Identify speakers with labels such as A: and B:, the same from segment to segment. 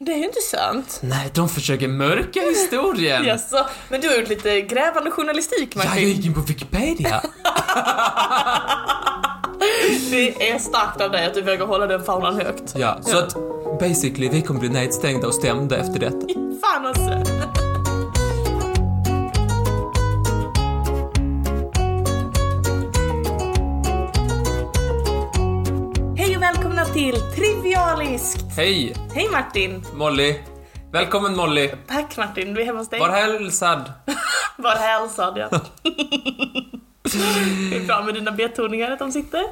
A: Det är ju inte sant.
B: Nej, de försöker mörka historien.
A: Jaså, men du har gjort lite grävande journalistik
B: Mm. Ja, jag
A: Martin.
B: gick in på Wikipedia.
A: Det är starkt av dig att du vågar hålla den faunan högt.
B: Ja, så att basically vi kommer bli nedstängda och stämda efter detta.
A: Fan alltså. Hej och välkomna till Trivialiskt.
B: Hej,
A: Hej Martin.
B: Molly. Välkommen Molly.
A: Tack Martin, du är hemma hos dig.
B: Var hälsad.
A: Var hälsad ja. det är bra med dina betoningar att de sitter.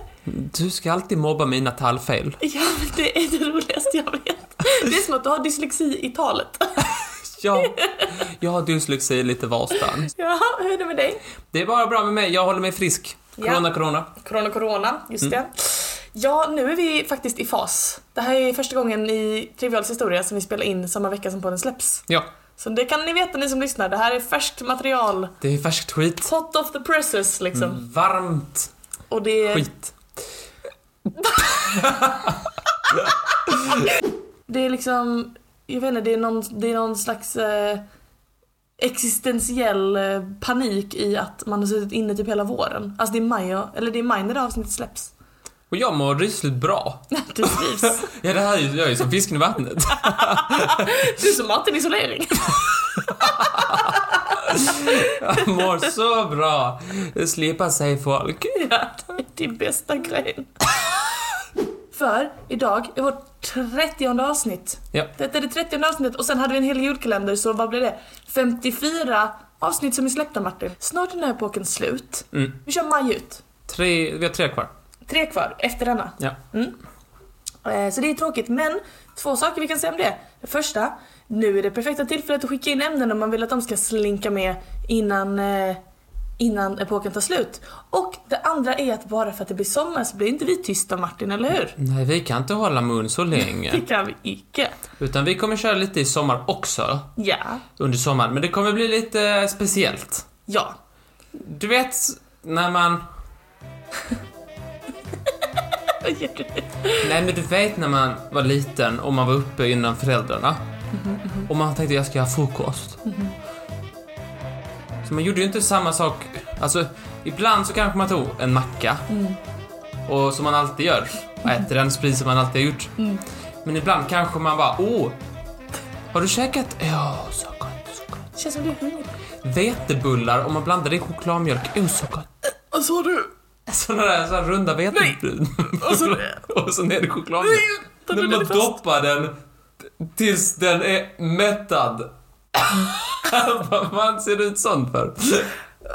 B: Du ska alltid mobba mina talfel.
A: Ja, men det är det roligaste jag vet. Det är som att du har dyslexi i talet.
B: Ja, jag har dyslexi lite varstans.
A: Jaha, hur är det med dig?
B: Det är bara bra med mig, jag håller mig frisk. Corona, corona.
A: Corona, corona, just det. Mm. Ja, nu är vi faktiskt i fas. Det här är första gången i Trivials historia som vi spelar in samma vecka som podden släpps.
B: Ja,
A: Så det kan ni veta ni som lyssnar, det här är färskt material.
B: det är färskt skit.
A: Hot of the presses liksom.
B: Varmt
A: Och det,
B: skit.
A: det är liksom, jag vet inte, det är någon, det är någon slags eh, existentiell eh, panik i att man har suttit inne typ hela våren. Alltså det är maj, och- eller det är maj när det här avsnittet släpps.
B: Och jag mår rysligt bra.
A: Du trivs.
B: Ja, det här är ju, jag är ju som fisken i vattnet.
A: Du är som Martin Isolering.
B: Jag mår så bra. Det slipar sig folk.
A: Ja, det är din bästa grej. För idag är vårt 30 avsnitt.
B: Ja.
A: Detta är det 30 avsnittet och sen hade vi en hel julkalender så vad blev det? 54 avsnitt som är släppta Martin. Snart är den här epoken slut.
B: Mm.
A: Vi kör maj ut.
B: Tre, vi har tre kvar.
A: Tre kvar efter denna.
B: Ja.
A: Eh, Så det är tråkigt men två saker vi kan säga om det. Det första, nu är det perfekta tillfället att skicka in ämnen om man vill att de ska slinka med innan, eh, innan epoken tar slut. Och det andra är att bara för att det blir sommar så blir inte vi tysta Martin, eller hur?
B: Nej, vi kan inte hålla mun så
A: Det
B: länge.
A: kan vi icke.
B: Utan vi kommer köra lite i sommar också.
A: Ja,
B: Under sommaren. Men det kommer bli lite eh, speciellt.
A: ja.
B: Du vet, när man...
A: Vad gör du?
B: Nej, men du vet när man var liten och man var uppe innan föräldrarna. Och man tänkte jag ska göra frukost. Så man gjorde ju inte samma sak. Alltså, ibland så kanske man tog en macka. Och som man alltid gör. Och äter den precis som man alltid har gjort. Men ibland kanske man bara, åh! Har du käkat? Ja, så gott, så gott.
A: Känns som du är hungrig.
B: Vetebullar och man blandade i chokladmjölk. Åh, så gott.
A: Vad sa du?
B: Sådana där så här runda vetebryn.
A: Och så-
B: och så ner i chokladmjölk.
A: Ta
B: Men
A: den
B: man
A: fast.
B: doppar den tills den är mättad. Vad fan ser det ut sånt för?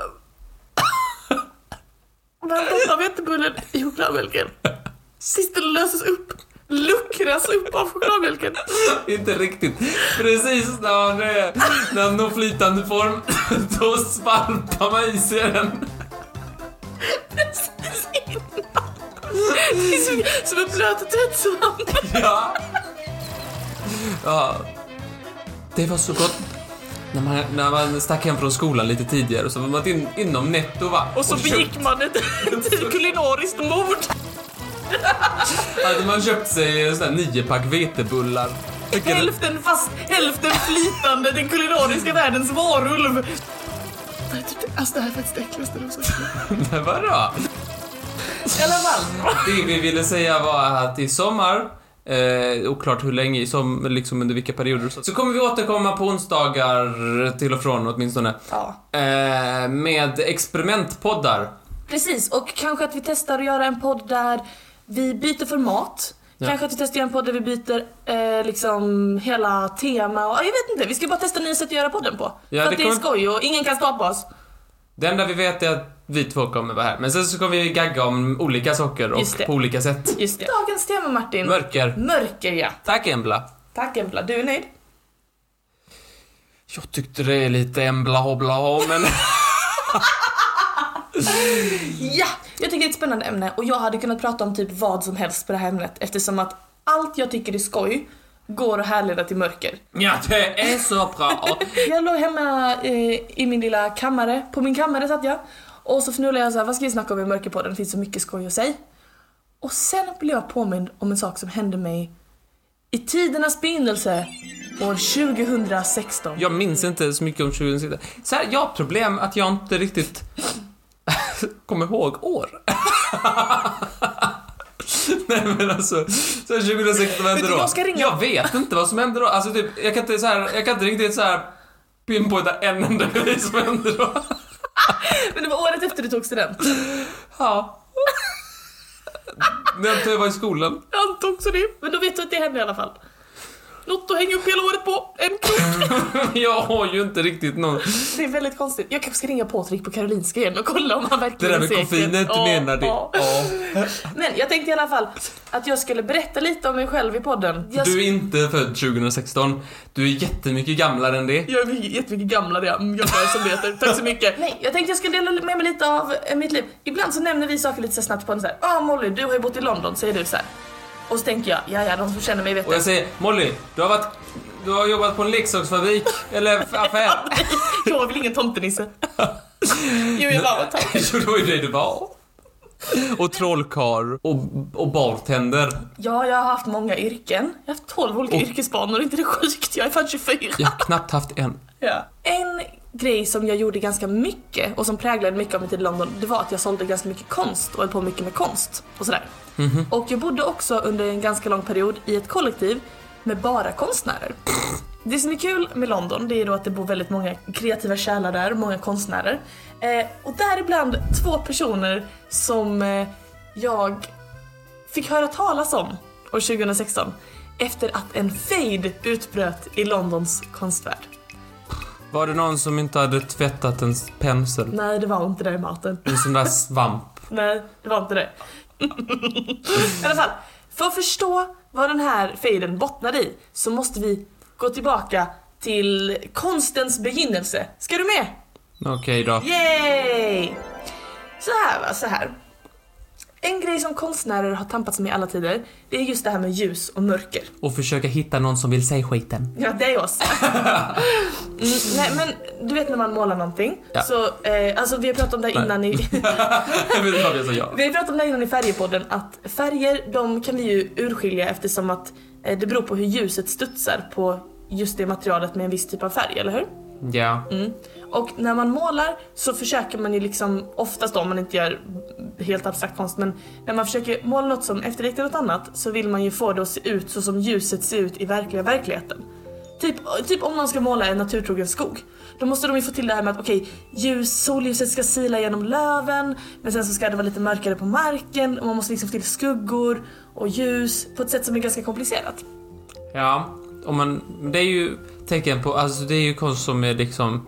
A: Man doppar vetebullen i chokladmjölken. Sist den löses upp, luckras upp av chokladmjölken.
B: Inte riktigt. Precis när man är, när man når flytande form, då svalpar man i sig den.
A: Precis innan. Det är som- Som en blöt tvättsvamp.
B: Ja. ja. Det var så gott. När man, när man stack hem från skolan lite tidigare så var man in, inom netto va?
A: Och så begick man ett, ett kulinariskt mord.
B: Hade man köpt sig sådana nio pack vetebullar. Vilken-
A: Hälften fast, hälften flytande, den kulinariska världens varulv. Alltså det här är faktiskt det äckligaste du har sagt.
B: Men vadå?
A: I alla fall.
B: Det vi ville säga var att i sommar, eh, oklart hur länge, i som, liksom under vilka perioder, så, så kommer vi återkomma på onsdagar till och från åtminstone.
A: Ja.
B: Eh, med experimentpoddar.
A: Precis, och kanske att vi testar att göra en podd där vi byter format.
B: Ja.
A: Kanske att vi testar att göra en podd där vi byter eh, liksom hela tema och jag vet inte, vi ska bara testa nya sätt att göra podden på.
B: Ja,
A: För
B: det
A: att det är
B: kommer-
A: skoj och ingen kan stoppa oss.
B: Det enda vi vet är att vi två kommer vara här. Men sen så kommer vi gagga om olika saker
A: Just det.
B: och på olika sätt.
A: Just det. Dagens tema Martin.
B: Mörker.
A: Mörker ja.
B: Tack Embla.
A: Tack Embla, du är nöjd?
B: Jag tyckte det är lite Embla hobbla men...
A: Ja! Jag tycker det är ett spännande ämne och jag hade kunnat prata om typ vad som helst på det här ämnet eftersom att allt jag tycker är skoj går att härleda till mörker.
B: ja, det är så bra.
A: Jag låg hemma eh, i min lilla kammare, på min kammare satt jag och så fnulade jag så här, vad ska vi snacka om i mörkerpodden? Det finns så mycket skoj att säga. Och sen blev jag påmind om en sak som hände mig i tidernas begynnelse. år 2016.
B: Jag minns inte så mycket om 2016. Så här, jag har problem att jag inte riktigt kommer ihåg år. Nej men alltså, så här 2016 vad hände
A: Vet
B: då?
A: du, jag ska ringa-
B: jag vet inte vad som hände då. Alltså typ, jag kan inte, så här, jag kan inte riktigt så här pinpointa en enda grej som hände då.
A: Men det var året efter du tog studenten.
B: Ja. När jag var i skolan.
A: Jag antog också det. Men då vet du att det hände i alla fall. Något att hänga upp hela året på. En krok.
B: Jag har ju inte riktigt någon...
A: Det är väldigt konstigt. Jag kanske ska ringa Patrik på Karolinska igen och kolla om han
B: Det
A: verkligen
B: där med
A: är säker.
B: koffeinet, du
A: Ja,
B: menar det?
A: ja. Men jag tänkte i alla fall att jag skulle berätta lite om mig själv i podden. Jag,
B: Du är inte född 2016. Du är jättemycket gamlare än det.
C: Jag är mycket- jättemycket gamla det, mm, gamla som det heter. Tack så mycket.
A: Nej, jag tänkte jag skulle dela med mig lite av eh, mitt liv. Ibland så nämner vi saker lite så snabbt på en så här. Ja ah, Molly, du har ju bott i London, säger du så här. Och så tänker jag, ja ja, de som känner mig vet
B: Och jag
A: det.
B: säger, Molly, du har varit... Du har jobbat på en leksaksfabrik, eller f- affär.
A: Jag är väl ingen tomtenisse.
C: Jo, jag bara, tack.
B: Så det var ju det du var. Och trollkar och, och bartender.
A: Ja, jag har haft många yrken. Jag har haft 12 olika yrkesbanor, inte det sjukt? Jag är fan 24.
B: Jag har knappt haft en.
C: Ja.
A: En grej som jag gjorde ganska mycket och som präglade mycket av min tid i London, det var att jag sålde ganska mycket konst och höll på mycket med konst och sådär. Och jag bodde också under en ganska lång period i ett kollektiv med bara konstnärer. Det som är kul med London det är då att det bor väldigt många kreativa själar där, många konstnärer. Eh, och däribland två personer som eh, jag fick höra talas om år 2016 efter att en fade utbröt i Londons konstvärld.
B: Var det någon som inte hade tvättat en pensel?
A: Nej, det var inte det Martin.
B: En sån där svamp.
A: Nej, det var inte det. I alla fall, för att förstå vad den här fejden bottnade i så måste vi gå tillbaka till konstens begynnelse. Ska du med?
B: Okej då.
A: Yay! Så här va, så här. En grej som konstnärer har tampats med i alla tider, det är just det här med ljus och mörker.
B: Och försöka hitta någon som vill säga skiten.
A: Ja, det är oss. Mm, nej men du vet när man målar någonting,
B: Ja.
A: så, eh, alltså vi har pratat om det här
B: Nej.
A: innan i,
B: Jag vet inte varför jag sa ja.
A: Vi har ju pratat om det här innan i färgpodden att färger de kan vi ju urskilja eftersom att eh, det beror på hur ljuset studsar på just det materialet med en viss typ av färg, eller hur?
B: Ja.
A: Och när man målar så försöker man ju liksom, oftast då, om man inte gör helt abstrakt konst, men när man försöker måla något som efterliknar något annat så vill man ju få det att se ut så som ljuset ser ut i verkliga verkligheten. Typ, typ om någon ska måla en naturtrogen skog. Då måste de ju få till det här med att okej, ljus, solljuset ska sila genom löven men sen så ska det vara lite mörkare på marken och man måste liksom få till skuggor och ljus på ett sätt som är ganska komplicerat.
B: Ja, och man, det är ju tecken på, alltså det är ju konst som är liksom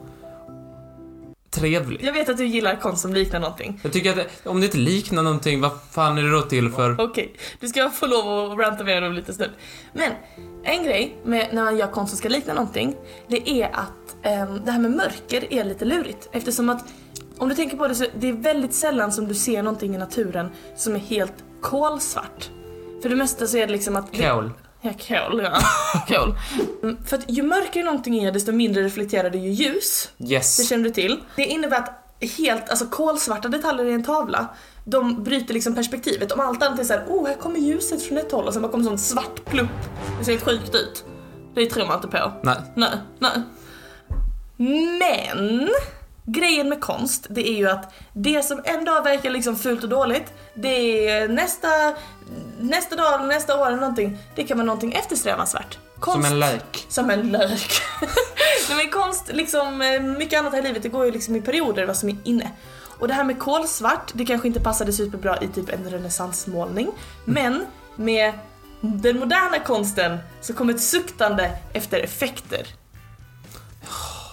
B: trevlig.
A: Jag vet att du gillar konst som liknar någonting.
B: Jag tycker att det, om det inte liknar någonting, vad fan är det då till för?
A: Okej, du ska få lov att ranta med dem lite stund. Men en grej med när man gör konst som ska likna någonting, det är att ehm, det här med mörker är lite lurigt. Eftersom att om du tänker på det så det är väldigt sällan som du ser någonting i naturen som är helt kolsvart. För det mesta så är det liksom att...
B: Kol.
A: Ja, kol, ja. kol. Mm, För att ju mörkare någonting är desto mindre reflekterar det ju ljus. Det
B: Yes.
A: känner du till. Det innebär att helt, alltså kolsvarta detaljer i en tavla, de bryter liksom perspektivet. Om allt annat är såhär, oh här kommer ljuset från ett håll och sen bara kommer sån svart plupp. Det ser helt sjukt ut. Det tror man inte på.
B: Nej.
A: Nej, nej. Men grejen med konst, det är ju att det som en dag verkar liksom fult och dåligt, det är nästa, nästa dag eller nästa år eller någonting, det kan vara någonting eftersträvansvärt.
B: Som
A: Konst
B: en lök.
A: som en lök. Nej men konst, liksom eh, mycket annat här i livet, det går ju liksom i perioder vad som är inne. Och det här med kolsvart, det kanske inte passade superbra i typ en renässansmålning. Men med den moderna konsten så kom ett suktande efter effekter.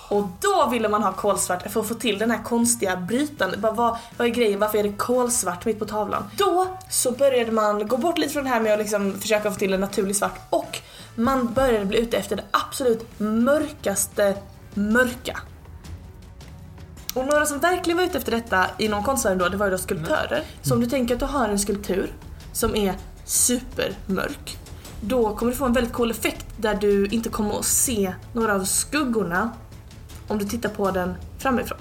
A: Och då ville man ha kolsvart för att få till den här konstiga brytande. Bara, vad, vad är grejen? Varför är det kolsvart mitt på tavlan? Då så började man gå bort lite från det här med att liksom försöka få till en naturlig svart och man började bli ute efter det absolut mörkaste mörka. Och några som verkligen var ute efter detta inom konstvärlden då, det var ju då skulptörer. Så om du tänker att du har en skulptur som är supermörk, då kommer du få en väldigt cool effekt där du inte kommer att se några av skuggorna om du tittar på den framifrån.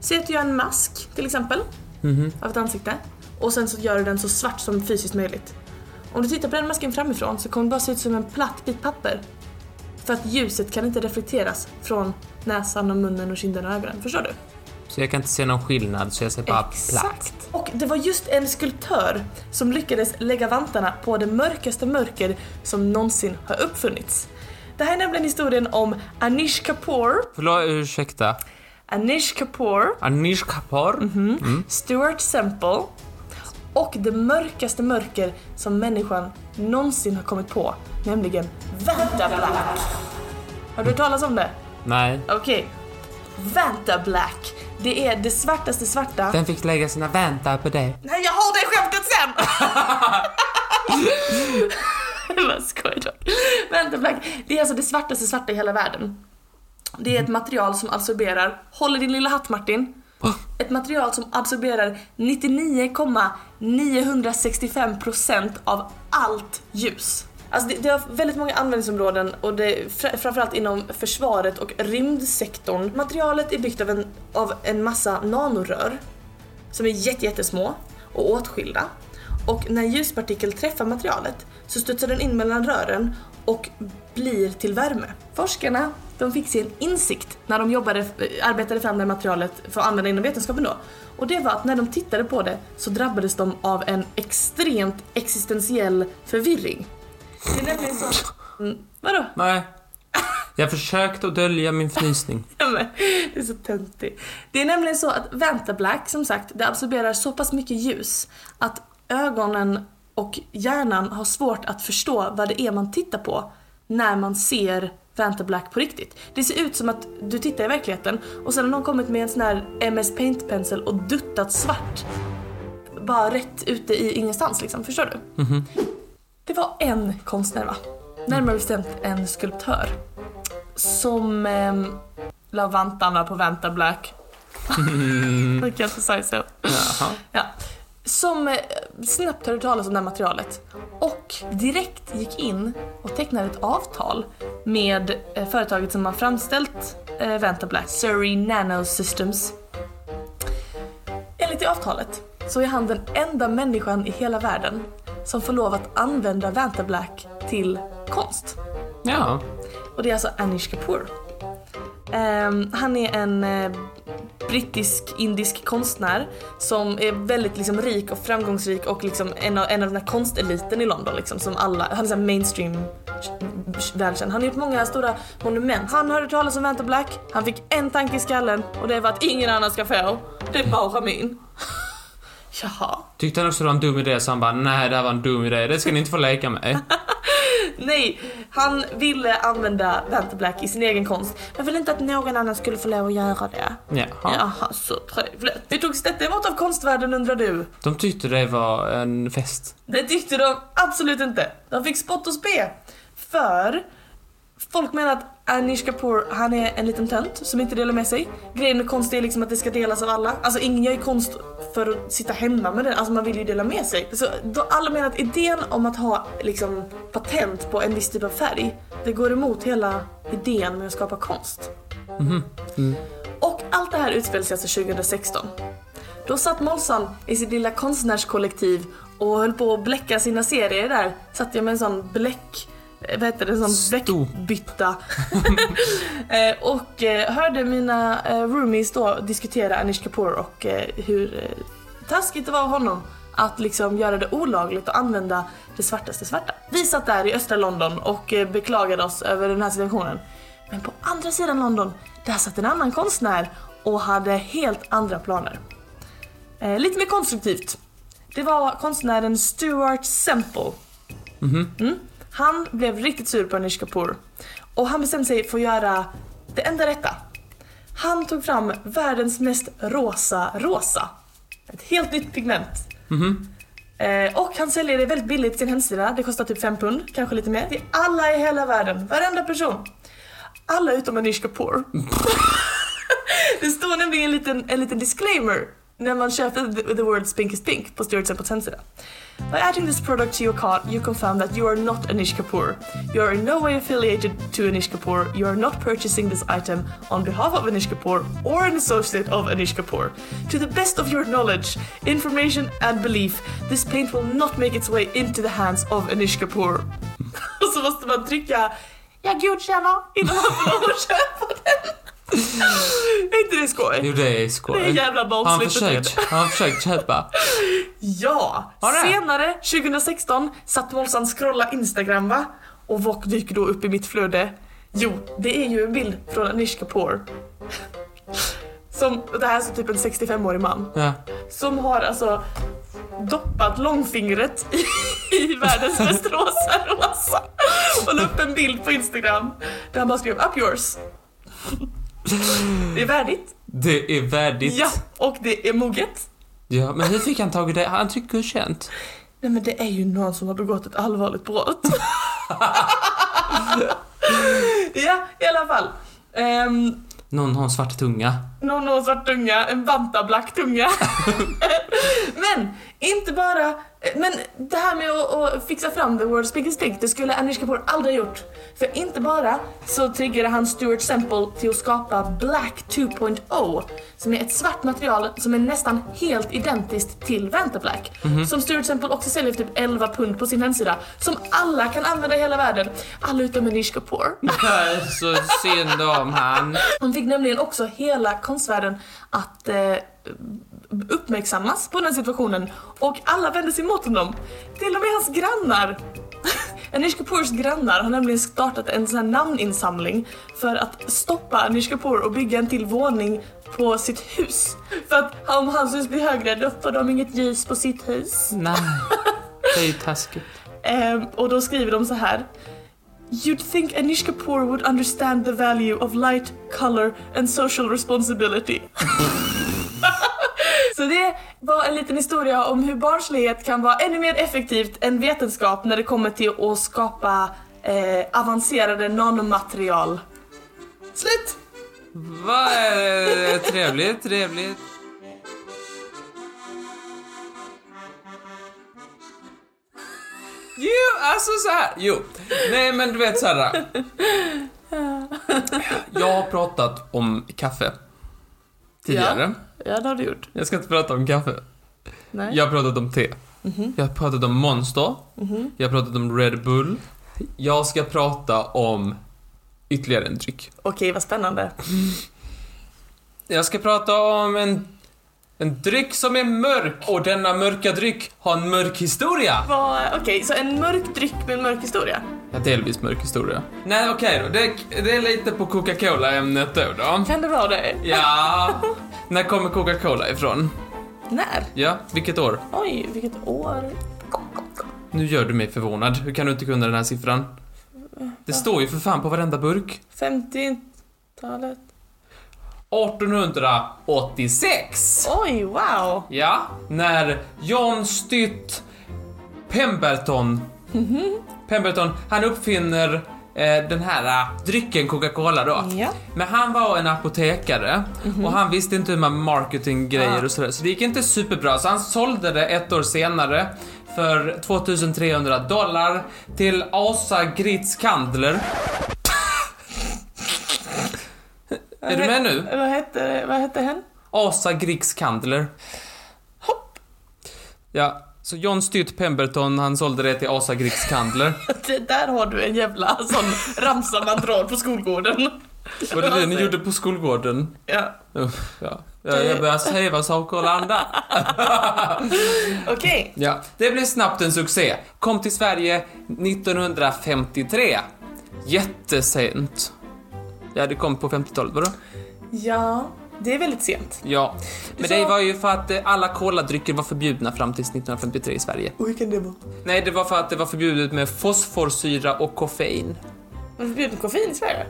A: Säg att du gör en mask till exempel
B: Mhm.
A: av ett ansikte och sen så gör du den så svart som fysiskt möjligt. Om du tittar på den masken framifrån så kommer det bara se ut som en platt bit papper. För att ljuset kan inte reflekteras från näsan och munnen och kinderna och ögonen. Förstår du?
B: Så jag kan inte se någon skillnad, så jag ser bara platt.
A: Och det var just en skulptör som lyckades lägga vantarna på det mörkaste mörker som någonsin har uppfunnits. Det här är nämligen historien om Anish Kapoor,
B: Förlåt, eh, ursäkta.
A: Anish Kapoor,
B: Anish Kapoor?
C: Mhm.
A: Stuart Semple och det mörkaste mörker som människan någonsin har kommit på, nämligen Vanta Black. Har du hört talas om det?
B: Nej.
A: Okej. Vanta Black. Det är det svartaste svarta.
B: Den fick lägga sina väntar på dig.
A: Nej, jag har det skämtet sen! Vad skoj dock. Vänta, Black. Det är alltså det svartaste svarta i hela världen. Det är ett material som absorberar, håll i din lilla hatt Martin. Ett material som absorberar 99,965% av allt ljus. Alltså det, det har väldigt många användningsområden och det, är fr- framförallt inom försvaret och rymdsektorn. Materialet är byggt av en, av en massa nanorör som är jätte, jättesmå och åtskilda. Och när en ljuspartikel träffar materialet så studsar den in mellan rören och blir till värme. Forskarna de fick sin insikt när de jobbade, eh, arbetade fram det här materialet för att använda inom vetenskapen då. Och det var att när de tittade på det så drabbades de av en extremt existentiell förvirring. Det är nämligen så... Mm, vadå?
B: Nej. Jag försökte att dölja min fnysning.
A: Ja, men, Det är så töntig. Det är nämligen så att Vantablack, som sagt, det absorberar så pass mycket ljus att ögonen och hjärnan har svårt att förstå vad det är man tittar på när man ser Vantablack på riktigt. Det ser ut som att du tittar i verkligheten och sen har någon kommit med en sån här MS Paint-pensel och duttat svart. Bara rätt ute i ingenstans liksom, förstår du? Det var en konstnär va? Närmare bestämt en skulptör. Som ehm, la vantarna på Vanta Black. Jag kan inte säga så.
B: Jaha.
A: Ja. Som eh, snabbt hörde talas om det här materialet och direkt gick in och tecknade ett avtal med eh, företaget som har framställt eh, Vanta Black, Surrey Nanosystems. Enligt det avtalet så är han den enda människan i hela världen som får lov att använda Vanta Black till konst.
B: Ja.
A: Och det är alltså Anish Kapoor. Ehm, han är en eh, brittisk-indisk konstnär som är väldigt liksom, rik och framgångsrik och liksom, en, av, en av den här konsteliten i London. Liksom, som alla, han är så här mainstream välkänd. Han har gjort många stora monument. Han hörde talas om Vanta Black, han fick en tanke i skallen och det var att ingen annan ska få. Det är bara min. Jaha.
B: Tyckte han också det var en dum idé, så han bara nej det här var en dum idé, det ska ni inte få leka med.
A: Nej, han ville använda Vanta Black i sin egen konst. Jag ville inte att någon annan skulle få lov att göra det.
B: Jaha.
A: Jaha, så trevligt. Hur togs detta emot av konstvärlden undrar du?
B: De tyckte det var en fest.
A: Det tyckte de absolut inte. De fick spott och spe. För folk menar att Anish Kapoor, han är en liten tönt som inte delar med sig. Grejen med konst är liksom att det ska delas av alla. Alltså ingen gör ju konst för att sitta hemma med den, alltså man vill ju dela med sig. Så då alla menar att idén om att ha liksom patent på en viss typ av färg, det går emot hela idén med att skapa konst. Och allt det här utspelade sig alltså 2016. Då satt Målsan i sitt lilla konstnärskollektiv och höll på att bläcka sina serier där. Satt jag med en sån bläck... eh, Vad heter det? En sån
B: Stor.
A: bläckbytta. Eh, och eh, hörde mina eh, roomies då diskutera Anish Kapoor och eh, hur eh, taskigt det var av honom att liksom göra det olagligt att använda det svartaste svarta. Vi satt där i östra London och eh, beklagade oss över den här situationen. Men på andra sidan London, där satt en annan konstnär och hade helt andra planer. Eh, lite mer konstruktivt. Det var konstnären Stuart Semple. Mm. Han blev riktigt sur på Anish Kapoor. Och han bestämde sig för att göra det enda rätta. Han tog fram världens mest rosa rosa. Ett helt nytt pigment. Eh, och han säljer det väldigt billigt på sin hemsida. Det kostar typ 5 pund, kanske lite mer. Till alla i hela världen, varenda person. Alla utom Anish Kapoor. det står nämligen en liten, en liten disclaimer när man köper the, the world's pinkest pink på Stuart Semples hemsida. By adding this product to your cart you confirm that you are not Anish Kapoor. You are in no way affiliated to Anish Kapoor. You are not purchasing this item on behalf of Anish Kapoor or an associate of Anish Kapoor. To the best of your knowledge, information and belief, this paint will not make its way into the hands of Anish Kapoor. Och så måste man trycka jag godkänner innan man får köpa den. är inte det skoj?
B: Jo, det är
C: Det är
B: skoj.
C: jävla
B: Har han
C: barnsligt beteende.
B: försökt, har han försökt köpa?
C: Ja!
B: Har det?
A: Senare
C: 2016 satt Målsan scrolla Instagram va? Och vad dyker då upp i mitt flöde? Jo, det är ju en bild från Anish Kapoor. Som, det här är så typ en 65-årig man.
B: Ja.
C: Som har alltså doppat långfingret i, i världens mest rosa rosa. Och la upp en bild på Instagram där han bara skrev up yours. Det är värdigt.
B: Det är värdigt.
C: Ja, och det är moget.
B: Ja, men hur fick han tag i det? Han tycker godkänt.
C: Nej men det är ju någon som har begått ett allvarligt brott. ja, i alla fall. Um,
B: Någon har en svart tunga.
C: någon har en svart tunga, en vantablack tunga.
A: Men inte bara, men det här med att, att fixa fram the world's biggest dick, det skulle Anish Kapoor aldrig ha gjort. För inte bara så triggade han Stuart Semple till att skapa Black 2.0 som är ett svart material som är nästan helt identiskt till Vantablack. Som Stuart Semple också säljer för typ 11 pund på sin hemsida. Som alla kan använda i hela världen. Alla utom Anish Kapoor.
B: Nej, Så synd om han.
A: Hon fick nämligen också hela konstvärlden att eh, uppmärksammas på den situationen och alla vände sig mot honom. Till och med hans grannar. Anish Kapoors grannar har nämligen startat en sån här namninsamling för att stoppa Anish Kapoor och bygga en till våning på sitt hus. För att om hans hus blir högre då får de inget ljus på sitt hus.
B: Nej. Det är ju taskigt.
A: Ehm, och då skriver de så här. You'd think Anish Kapoor would understand the value of light, color and social responsibility. så det var en liten historia om hur barnslighet kan vara ännu mer effektivt än vetenskap när det kommer till att skapa eh, avancerade nanomaterial. Slut!
B: Vad eh, trevligt, trevligt. Jo, alltså så här. Jo, nej men du vet så här. Jag har pratat om kaffe tidigare.
A: Ja, det har du gjort.
B: Jag ska inte prata om kaffe.
A: Nej.
B: Jag har pratat om te. Jag har pratat om Monster. Jag har pratat om Red Bull. Jag ska prata om ytterligare en dryck.
A: Okej, vad spännande.
B: Jag ska prata om en, en dryck som är mörk. Och denna mörka dryck har en mörk historia.
A: Vad- Okej, så en mörk dryck med en mörk historia.
B: Ja, delvis mörk historia. Nej, okej då. Det, det är lite på Coca-Cola-ämnet då, då.
A: Kan det vara det?
B: Ja. När kommer Coca-Cola ifrån?
A: När?
B: Ja, vilket år?
A: Oj, vilket år.
B: Nu gör du mig förvånad. Hur kan du inte kunna den här siffran? Det står ju för fan på varenda burk.
A: 50-talet.
B: 1886!
A: Oj, wow!
B: Ja, när John Stytt Pemberton Pemberton, han uppfinner eh, den här eh, drycken Coca-Cola då.
A: Ja.
B: Men han var en apotekare och han visste inte hur man marketinggrejer
A: Ah.
B: och sådär. Så det gick inte superbra. Så han sålde det ett år senare för 2300 dollar till Asa Gritz Kandler. Är du med nu?
A: Vad hette, vad hette hen?
B: Asa Griggs Candler.
A: Hopp!
B: Ja, så John Styrt Pemberton, han sålde det till Asa Griggs Candler.
A: Det där har du en jävla sån ramsa man drar på skolgården.
B: Var det det ni gjorde på skolgården?
A: Ja.
B: Uff, ja. ja jag börjar säga saker och landa.
A: Okej.
B: Ja, det blev snabbt en succé. Kom till Sverige 1953. Jättesent. Ja, det kom på 50-talet, vadå?
A: Ja, det är väldigt sent.
B: Ja. Men det var ju för att eh, alla koladrycker var förbjudna fram till 1953 i Sverige.
A: Och hur kan det vara?
B: Nej, det var för att det var förbjudet med fosforsyra och koffein.
A: Man förbjuder koffein i Sverige?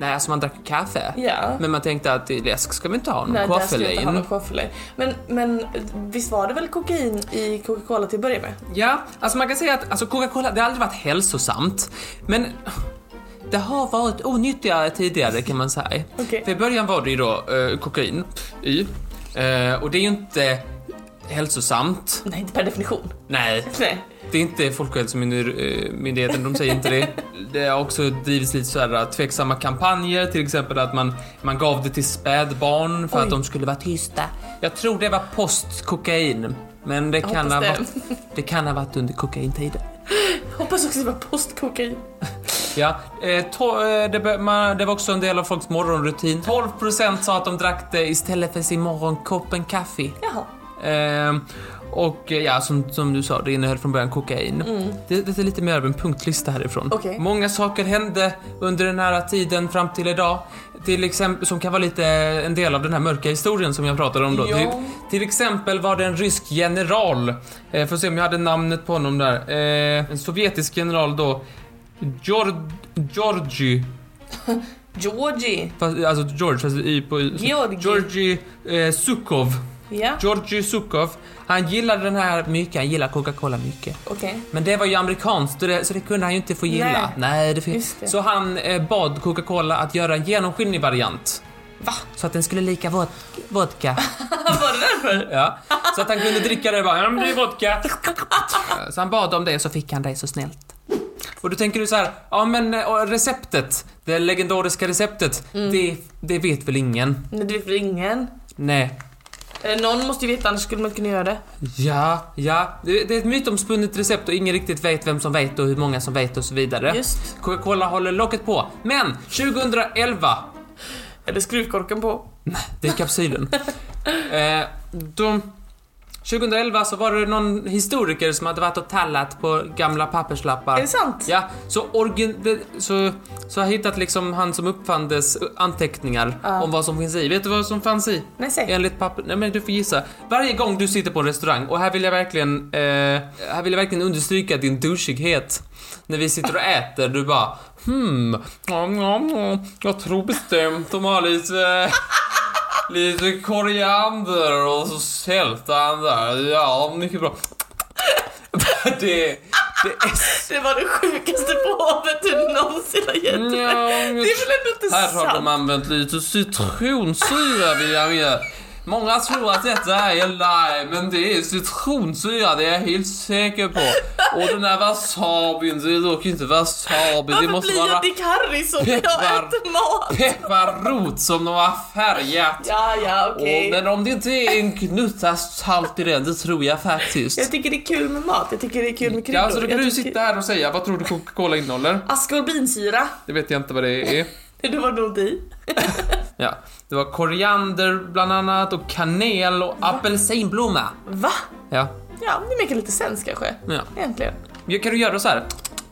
B: Nej, alltså man drack kaffe.
A: Ja.
B: Men man tänkte att i läsk ska vi inte ha
A: Nej,
B: någon
A: där ska jag inte ha någon
B: koffelein.
A: koffelein. Men, men visst var det väl kokain i Coca-Cola till att börja med?
B: Ja, alltså man kan säga att alltså Coca-Cola, det har aldrig varit hälsosamt. Men det har varit onyttigare tidigare kan man säga.
A: Okej.
B: För i början var det ju då eh, kokain i. Eh, och det är ju inte hälsosamt.
A: Nej, inte per definition.
B: Nej.
A: Nej.
B: Det är inte Folkhälsomyndigheten, de säger inte det. Det har också drivits lite så här äh, tveksamma kampanjer, till exempel att man, man gav det till spädbarn för
A: Oj.
B: att de skulle vara tysta. Jag tror det var post-kokain, men det kan,
A: hoppas
B: ha
A: det.
B: varit, det kan ha varit under kokaintiden.
A: Hoppas också det var postkokain.
B: Ja, eh, to- eh, det, be- man, det var också en del av folks morgonrutin. 12% sa att de drack det istället för sin morgonkopp en kaffe.
A: Jaha.
B: Ehm, och eh, ja, som, som du sa, det innehöll från början kokain. Det, det är lite mer av en punktlista härifrån.
A: Mm. Okej.
B: Många saker hände under den här tiden fram till idag. Till exempel, som kan vara lite eh, en del av den här mörka historien som jag pratade om då. typ.
A: Ja.
B: Till, till exempel var det en rysk general, eh, får se om jag hade namnet på honom där, eh, en sovjetisk general då, Georg, Georgi,
A: Georgie.
B: fast, alltså George, fast i på
A: Georgi.
B: Georgi eh, Sukov.
A: Ja,
B: Georgi Sukov, han gillade den här mycket, han gillar Coca-Cola mycket.
A: okej.
B: Men det var ju amerikanskt och det, så det kunde han ju inte få gilla.
A: Nej.
B: Nej, det fin-
A: Just det.
B: Så han eh, bad Coca-Cola att göra en genomskinlig variant.
A: Va?
B: Så att den skulle lika vod- vodka.
A: Var det därför?
B: Ja. Så att han kunde dricka det och bara, ja men det är vodka. Så han bad om det och så fick han det så snällt. Och då tänker du så här, ja men eh, och receptet, det legendariska receptet,
A: Mm.
B: det, det vet väl ingen?
A: Nej, det vet väl ingen.
B: Nej.
A: Eh, Någon måste ju veta, annars skulle man inte kunna göra det.
B: Ja, ja. Det, det är ett mytomspunnet recept och ingen riktigt vet vem som vet och hur många som vet och så vidare.
A: Just.
B: Coca-Cola håller locket på. Men 2011,
A: Eller skruvkorken på.
B: det är kapsylen. eh, de, 2011 så var det någon historiker som hade varit och tallat på gamla papperslappar.
A: Är det sant?
B: Ja, så, origin, det- så, så har jag hittat liksom han som uppfann dess anteckningar
A: Ja.
B: om vad som finns i. Vet du vad som fanns i?
A: Nej, säg.
B: Enligt papper... Nej men du får gissa. Varje gång du sitter på en restaurang, och här vill jag verkligen, eh, här vill jag verkligen understryka din douchighet. När vi sitter och äter, du bara hmm, nom, nom, nom. jag tror bestämt de har lite, lite koriander och så sältan där. Ja, mycket bra. Det, det är
A: Det var det sjukaste påhoppet du någonsin har gett mig.
B: Nja,
A: Det är väl ändå inte
B: Här har de
A: sant?
B: använt lite citronsyra vill jag med. Många tror att detta är lime, men det är citronsyra, det är jag helt säker på. Och den här wasabin, det är dock inte wasabi, det
A: Varför
B: måste
A: blir
B: vara
A: jag Dick Harrison när jag
B: peppar.
A: äter mat?
B: pepparrot som de har färgat.
A: Ja, ja, okej.
B: Och, men om det inte är en knutta salt i den, det tror jag faktiskt.
A: Jag tycker det är kul med mat, jag tycker det är kul med kryddor.
B: Ja, så då kan
A: Jag
B: du
A: tycker-
B: sitta här och säga, vad tror du Coca-Cola innehåller?
A: Askorbinsyra,
B: Det vet jag inte vad det är.
A: det var nog i.
B: Ja, det var koriander bland annat och kanel och apelsinblomma.
A: Va?
B: Ja.
A: Ja, det märker lite sens kanske.
B: ja.
A: Egentligen.
B: Ja, Kan du göra så här?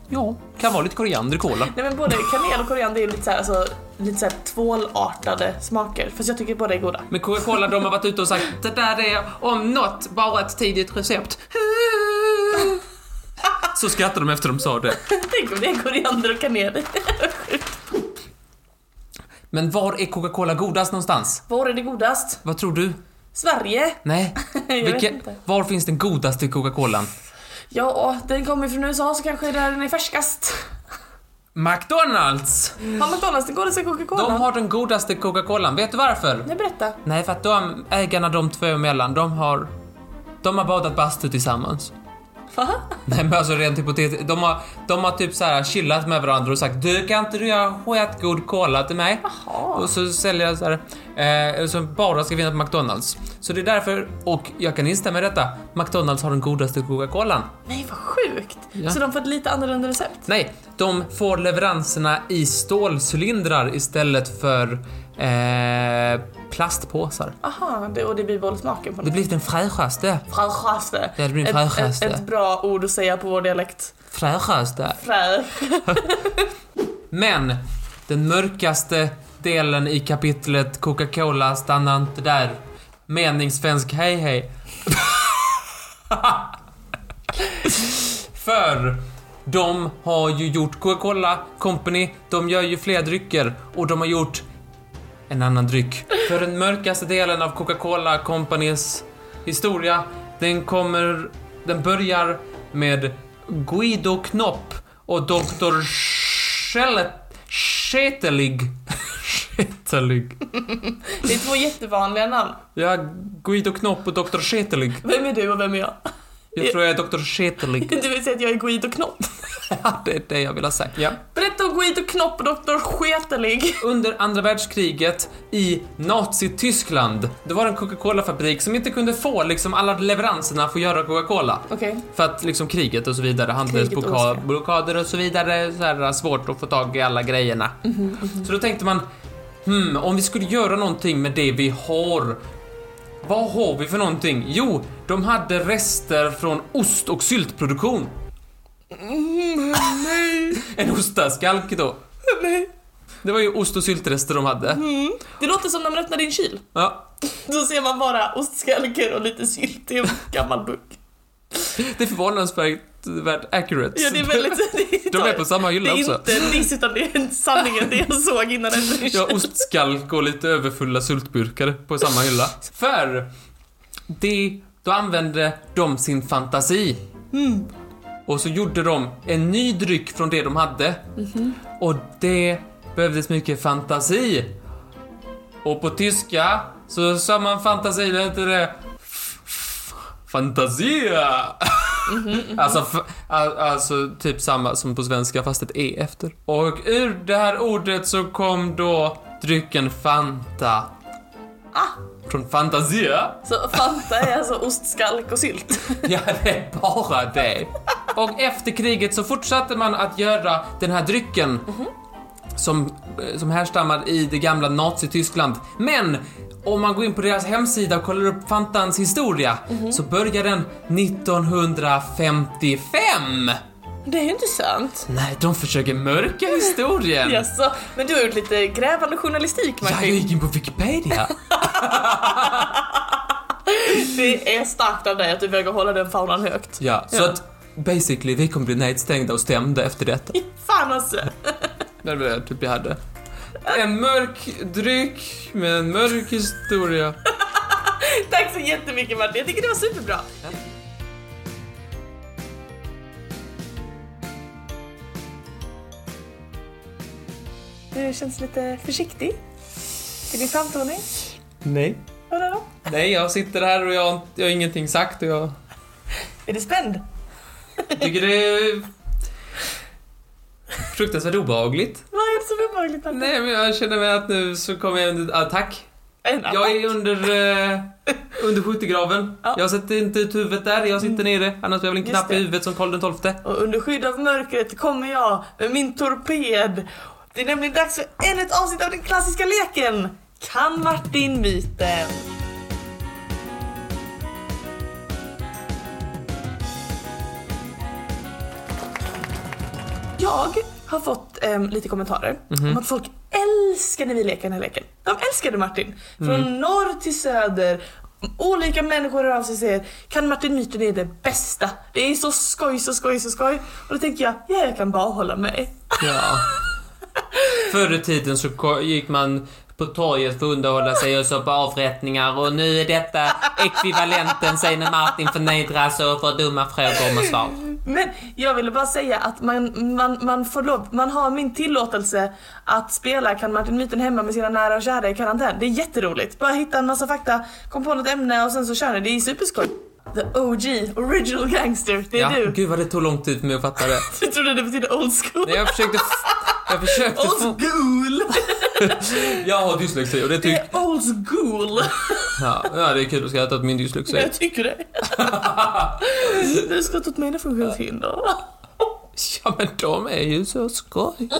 B: Ja, kan vara lite koriander i kola.
A: Nej men både kanel och koriander är ju lite såhär alltså, lite så här tvålartade smaker. Fast jag tycker båda är goda.
B: Men Coca-Cola de har varit ute och sagt det där är om något bara ett tidigt recept. Så skrattade de efter de sa det.
A: Tänk om det är koriander och kanel.
B: Men var är Coca-Cola godast någonstans?
A: Var är det godast?
B: Vad tror du?
A: Sverige?
B: Nej.
A: Jag vet
B: Vilken-
A: inte.
B: var finns den godaste Coca-Colan?
A: Ja, den kommer från USA så kanske där den är färskast.
B: McDonalds!
A: Har McDonalds den godaste Coca-Cola?
B: De har den godaste Coca-Colan. Vet du varför?
A: Nej berätta.
B: Nej, för att de ägarna de två emellan, de har... De har badat bastu tillsammans.
A: Va?
B: Nej men alltså rent hypotetiskt, de har, de har typ så här chillat med varandra och sagt du kan inte du göra skitgod cola till mig?
A: Jaha.
B: Och så säljer jag så här, eh, som bara ska finnas på McDonalds. Så det är därför, och jag kan instämma i detta, McDonalds har den godaste Coca-Colan.
A: Nej vad sjukt.
B: Ja.
A: Så de får ett lite annorlunda recept?
B: Nej, de får leveranserna i stålcylindrar istället för eh, plastpåsar.
A: Aha, det, och det bibehåller smaken på
B: Det
A: något
B: blir den fräschaste,
A: Fräschaste.
B: Ja, det blir
A: Ett, ett,
B: fräschaste.
A: ett bra ord att säga på vår dialekt.
B: fräschaste.
A: Frä.
B: Men den mörkaste delen i kapitlet Coca-Cola stannar inte där. Meningssvensk hej hej. För de har ju gjort Coca-Cola Company, de gör ju fler drycker och de har gjort en annan dryck. För den mörkaste delen av Coca-Cola Companys historia, den kommer... Den börjar med Guido Knopp och Dr. Schelet- Schetelig. Schetelig.
A: Det är två jättevanliga namn.
B: Ja, Guido Knopp och Dr. Schetelig.
A: Vem är du och vem är jag?
B: Jag tror jag är Dr. Shetelig.
A: Du vill säga att jag är Guido Knopp?
B: Ja, det är det jag vill ha sagt. Ja.
A: Berätta om Guido Knopp och Dr. Sketelig.
B: Under andra världskriget i Nazityskland, det var en Coca-Cola-fabrik som inte kunde få liksom alla leveranserna för att göra Coca-Cola.
A: Okej.
B: För att liksom kriget och så vidare,
A: och så.
B: handelsblockader och så vidare, så här, svårt att få tag i alla grejerna.
A: Mhm,
B: Så då tänkte man, hmm, om vi skulle göra någonting med det vi har, vad har vi för någonting? Jo, de hade rester från ost och syltproduktion. En ostaskalk då.
A: Mm, Nej.
B: Det var ju ost och syltrester de hade.
A: Mm. Det låter som när man öppnar din kyl.
B: Ja.
A: Då ser man bara ostskalkor och lite sylt i en gammal burk.
B: Det är förvånansvärt värt accurate.
A: Ja, det är väldigt... Det
B: De är på samma
A: Det
B: hylla
A: är
B: också.
A: inte en diss utan det är sanningen, det jag såg innan jag öppnade min kyl.
B: Ja, ostskalk och lite överfulla syltburkar på samma hylla. För det, då använde de sin fantasi. Och så gjorde de en ny dryck från det de hade. Och det behövdes mycket fantasi. Och på tyska så sa man fantasi, det heter det Fantasia! Alltså, f- al- alltså typ samma som på svenska fast ett E efter. Och ur det här ordet så kom då drycken Fanta. Från Fantasia.
A: Så Fanta är alltså ostskalk och sylt.
B: Ja, det är bara det. Och efter kriget så fortsatte man att göra den här drycken som, eh, som härstammar i det gamla Nazityskland. Men om man går in på deras hemsida och kollar upp Fantans historia så börjar den 1955.
A: Det är ju inte sant.
B: Nej, de försöker mörka historien.
A: Jaså, men du har gjort lite grävande journalistik
B: Ja, jag
A: Martin.
B: gick in på Wikipedia.
A: Det är starkt av dig att du vågar hålla den faunan högt.
B: Ja, så
A: Ja.
B: att basically vi kommer bli nedstängda och stämda efter detta.
A: Fan alltså.
B: Det var det typ jag hade. En mörk dryck med en mörk historia.
A: Tack så jättemycket Martin, jag tycker det var superbra. Du känns lite försiktig i din framtoning.
B: Nej.
A: Vadå då?
B: Nej, jag sitter här och jag, jag har ingenting sagt och jag
A: Är du spänd?
B: tycker det är fruktansvärt obehagligt.
A: Vad är det som är obehagligt Martin?
B: Nej, men jag känner mig att nu så kommer jag under attack.
A: En annan.
B: Jag är under, eh, under skyttegraven.
A: Ja. Mm.
B: Jag sätter inte ut huvudet där, jag sitter nere. Annars blir jag väl
A: Just
B: en knapp i
A: det.
B: huvudet som Karl den XII.
A: Och under skydd av mörkret kommer jag med min torped. Det är nämligen dags för ännu ett avsnitt av den klassiska leken. Kan Martin myten? Jag har fått em, lite kommentarer om att folk älskar när vi leker den här leken. De älskar det Martin. Från norr till söder. Olika människor hör av sig och säger Kan Martin Myten är det bästa. Det är så skoj, så skoj, så skoj. Och då tänker jag, ja jag kan bara hålla med.
B: Ja. Förr i tiden så ko- gick man på torget för att underhålla sig och så på avrättningar och nu är detta ekvivalenten säger när Martin förnedras och får dumma frågor med svar.
A: Men jag ville bara säga att man, man, man får lov, man har min tillåtelse att spela Kan Martin Myten hemma med sina nära och kära i karantän. Det är jätteroligt. Bara hitta en massa fakta, kom på något ämne och sen så kör ni. Det är superskoj. The OG, original gangster. Det är
B: Ja,
A: du.
B: gud vad det tog lång tid för mig att fatta det.
A: Du trodde det betydde old school.
B: Nej, jag försökte... Jag försökte
A: Old
B: få...
A: school!
B: Jag har dyslexi och det
A: Det
B: tycker...
A: är old school!
B: Ja, ja, det är kul att skratta åt min dyslexi.
A: Jag tycker det. Du ska ta åt mina funktionshinder.
B: Ja, men de är ju så skoj.
A: Ja,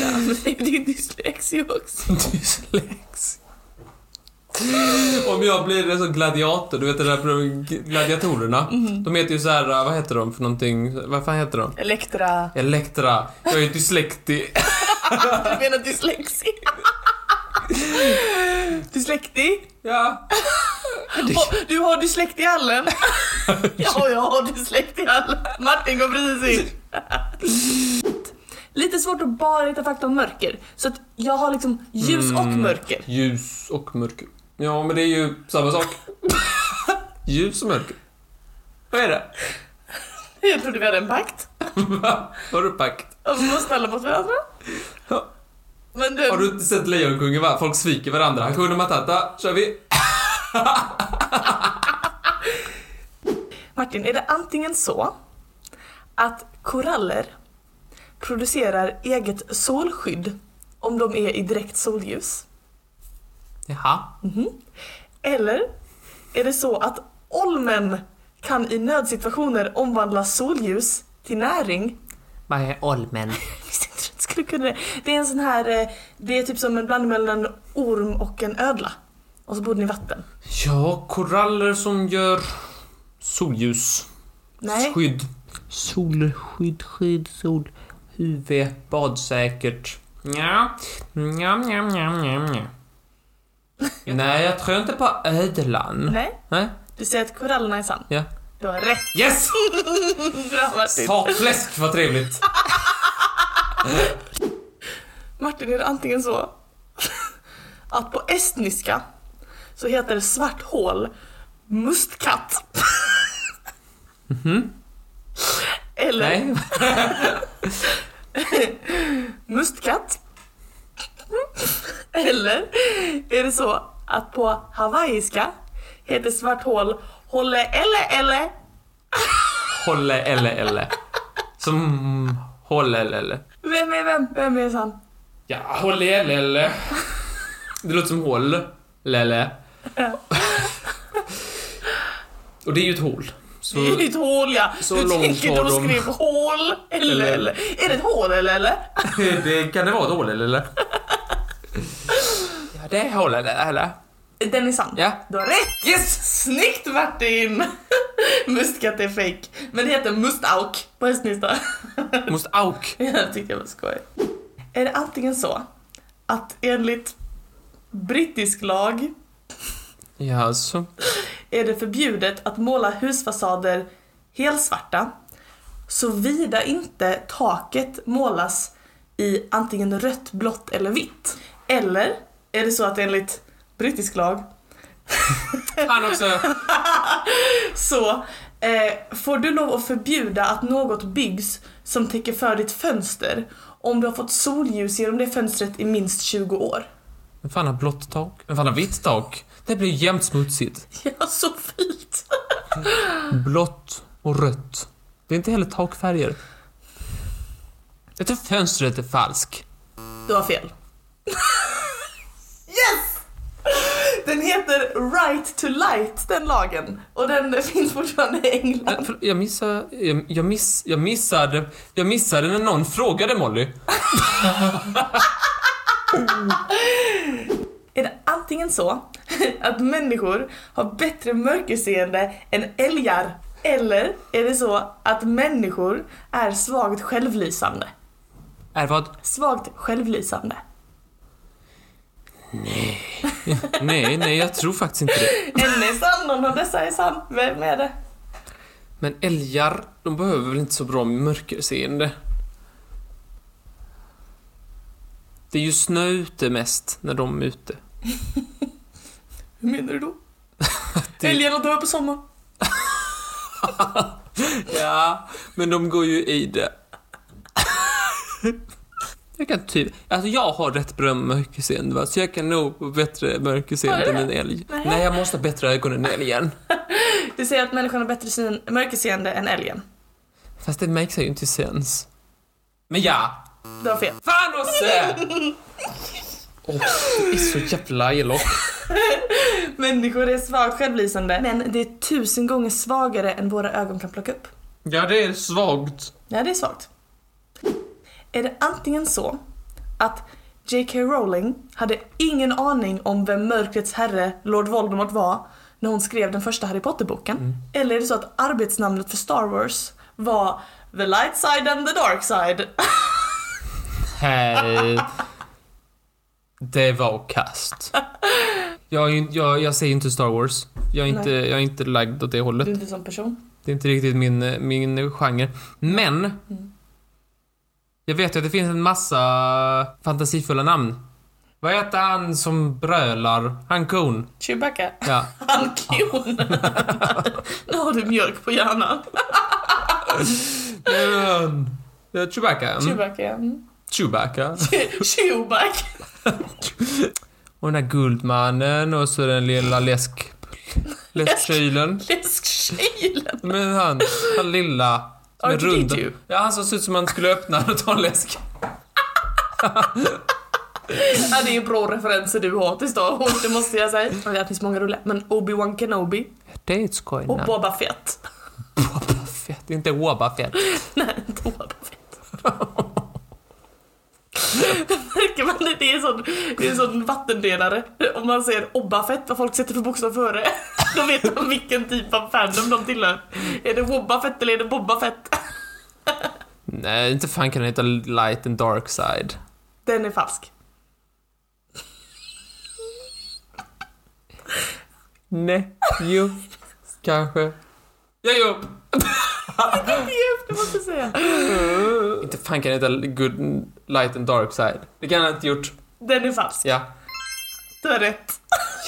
A: men det är din dyslexi också.
B: Dyslex. Om jag blir en sån gladiator, du vet det där från gladiatorerna.
A: Mm-hmm.
B: De heter ju så här, vad heter de för någonting? Vad fan heter de?
A: Elektra.
B: Elektra. Jag är dyslektig.
A: Du menar dyslexi? Dyslekti?
B: Ja.
A: Har- Du har dyslekt i hallen? Ja, jag har dyslekt i hallen. Martin går precis in. Lite svårt att bara hitta fakta om mörker. Så att jag har liksom ljus och
B: Mm.
A: mörker.
B: Ljus och mörker. Ja, men det är ju samma sak. Ljus och mörker. Vad är det?
A: Jag trodde vi hade en pakt.
B: Va? Har du pakt?
A: Och vi var snälla mot varandra.
B: Ja.
A: Men den,
B: Har du inte sett Lejonkungen va? Folk sviker varandra. Hakuna Matata, kör vi.
A: Martin, är det antingen så att koraller producerar eget solskydd om de är i direkt solljus?
B: Jaha.
A: Eller är det så att olmen kan i nödsituationer omvandla solljus till näring?
B: Vad är olmen?
A: Jag visste inte att du skulle kunna det. Det är en sån här, eh, det är typ som en blandning mellan en orm och en ödla. Och så bor den i vatten.
B: Ja, koraller som gör solljus.
A: Nej.
B: Skydd. Solskydd, skydd, sol. Huvud, badsäkert. Nja, nja, nja, nja, nja, nja. Nej, jag tror inte på ödlan.
A: Nej,
B: Nej.
A: du säger att korallerna är sann.
B: Ja.
A: Du har rätt.
B: Yes!
A: Bra Martin.
B: Sakfläsk, vad trevligt.
A: Martin, är det antingen så att på estniska så heter svart hål mustkatt. Eller
B: Nej.
A: mustkatt. Eller är det så att på hawaiiska heter svart hål hålle eller eller?
B: Hålle eller eller. Som hålle eller eller.
A: Vem är vem? Vem är sann?
B: Ja, håll i lelle. Det låter som hål. Lelle. Och det är ju ett hål. Så
A: Det är ett hål ja.
B: så
A: du
B: långt
A: tänker
B: har
A: då
B: de.
A: skrev hål eller
B: Eller-
A: eller. Är det ett hål eller eller?
B: det kan det vara ett hål eller? Ja, det är hål eller? eller?
A: Den är sann.
B: Ja.
A: Du har rätt! Yes! Snyggt Martin! Mustkatt är fake. Men det heter mustauk på hästnysta.
B: Måste auk.
A: jag tyckte det var skoj. Är det antingen så att enligt brittisk lag
B: Ja, så.
A: är det förbjudet att måla husfasader helsvarta såvida inte taket målas i antingen rött, blått eller vitt. Eller är det så att enligt brittisk lag
B: Han också.
A: Så eh, får du lov att förbjuda att något byggs som täcker för ditt fönster om du har fått solljus genom det fönstret i minst 20 år.
B: Vem fan har blått tak? Vem fan har vitt tak? Det blir jämnt smutsigt.
A: Ja, så fint!
B: Blått och rött. Det är inte heller takfärger. Jag tror fönstret är falsk.
A: Du har fel. yes! Den heter Right to Light, den lagen. Och den finns fortfarande i England.
B: Men, för- Jag missade, jag, jag, miss, jag missade, jag missade när någon frågade Molly.
A: är det antingen så att människor har bättre mörkerseende än älgar eller är det så att människor är svagt självlysande?
B: Är vad?
A: Svagt självlysande.
B: Nej, nej, jag tror faktiskt inte det.
A: En är sann, någon av dessa är sann. Vem är det?
B: Men älgar, de behöver väl inte så bra mörkerseende? Det är ju snö ute mest när de är ute.
A: Hur menar du då?
B: Det-
A: Älgarna dör på sommaren.
B: Ja, men de går ju i det. Jag kan typ, alltså jag har rätt bra mörkerseende va, så jag kan nog få bättre mörkerseende än en älg.
A: Nej.
B: Nej, jag måste ha bättre ögon än älgen.
A: Du säger att människan har bättre syn, mörkerseende än älgen.
B: Fast det makes ju inte sens. Men ja!
A: Du har fel.
B: Fan Osse! Åh, du är så jävla elak.
A: Människor är svagt självlysande, men det är tusen gånger svagare än våra ögon kan plocka upp.
B: Ja, det är svagt.
A: Ja, det är svagt. Är det antingen så att J.K. Rowling hade ingen aning om vem mörkrets herre Lord Voldemort var när hon skrev den första Harry Potter-boken? Eller är det så att arbetsnamnet för Star Wars var The Light Side and the Dark Side?
B: Hej. Det var kast. Jag, är ju- jag, jag säger inte Star Wars. Jag är inte, jag är inte lagd åt det hållet.
A: Du är inte sån person.
B: Det är inte riktigt min, eh, min eh, genre. Men! Jag vet ju att det finns en massa fantasifulla namn. Vad heter han som brölar? Han kon.
A: Chewbacca.
B: Ja.
A: Han klon. nu har du mjölk på hjärnan.
B: Uh, Chewbacca. Mm.
A: Chewbacca. Mm.
B: Chewbacca.
A: Chewbacca.
B: Och den där guldmannen och så den lilla läsk... Läskkylen.
A: Läskkylen!
B: Men han, han lilla. som är
A: R2D2.
B: rund. Ja, han som ser ut som han skulle öppna och ta en läsk.
A: Ja, det är ju bra referenser du har till Star Wars, det måste jag säga. Ja, Det finns många roliga, men Obi-Wan Kenobi
B: Det är ett
A: och
B: skojnamn.
A: Boba Fett.
B: Boba Fett. Inte Oba Fett.
A: Nej, inte Boba Fett. Märker man det? Det är en sån, det är en sån vattendelare. Om man säger Obba Fett, vad folk sätter för bokstav före, då vet man vilken typ av fandom de tillhör. Är det Wobba Fett eller är det Bobba Fett?
B: Nej, inte fan kan den heta Light and Dark Side.
A: Den är falsk.
B: Nej. Jo. Kanske. Ja, jo.
A: Djup, det måste jag säga.
B: Inte fan kan den heta Good Light and Dark Side. Det kan han inte gjort.
A: Den är falsk.
B: Ja.
A: Du har rätt.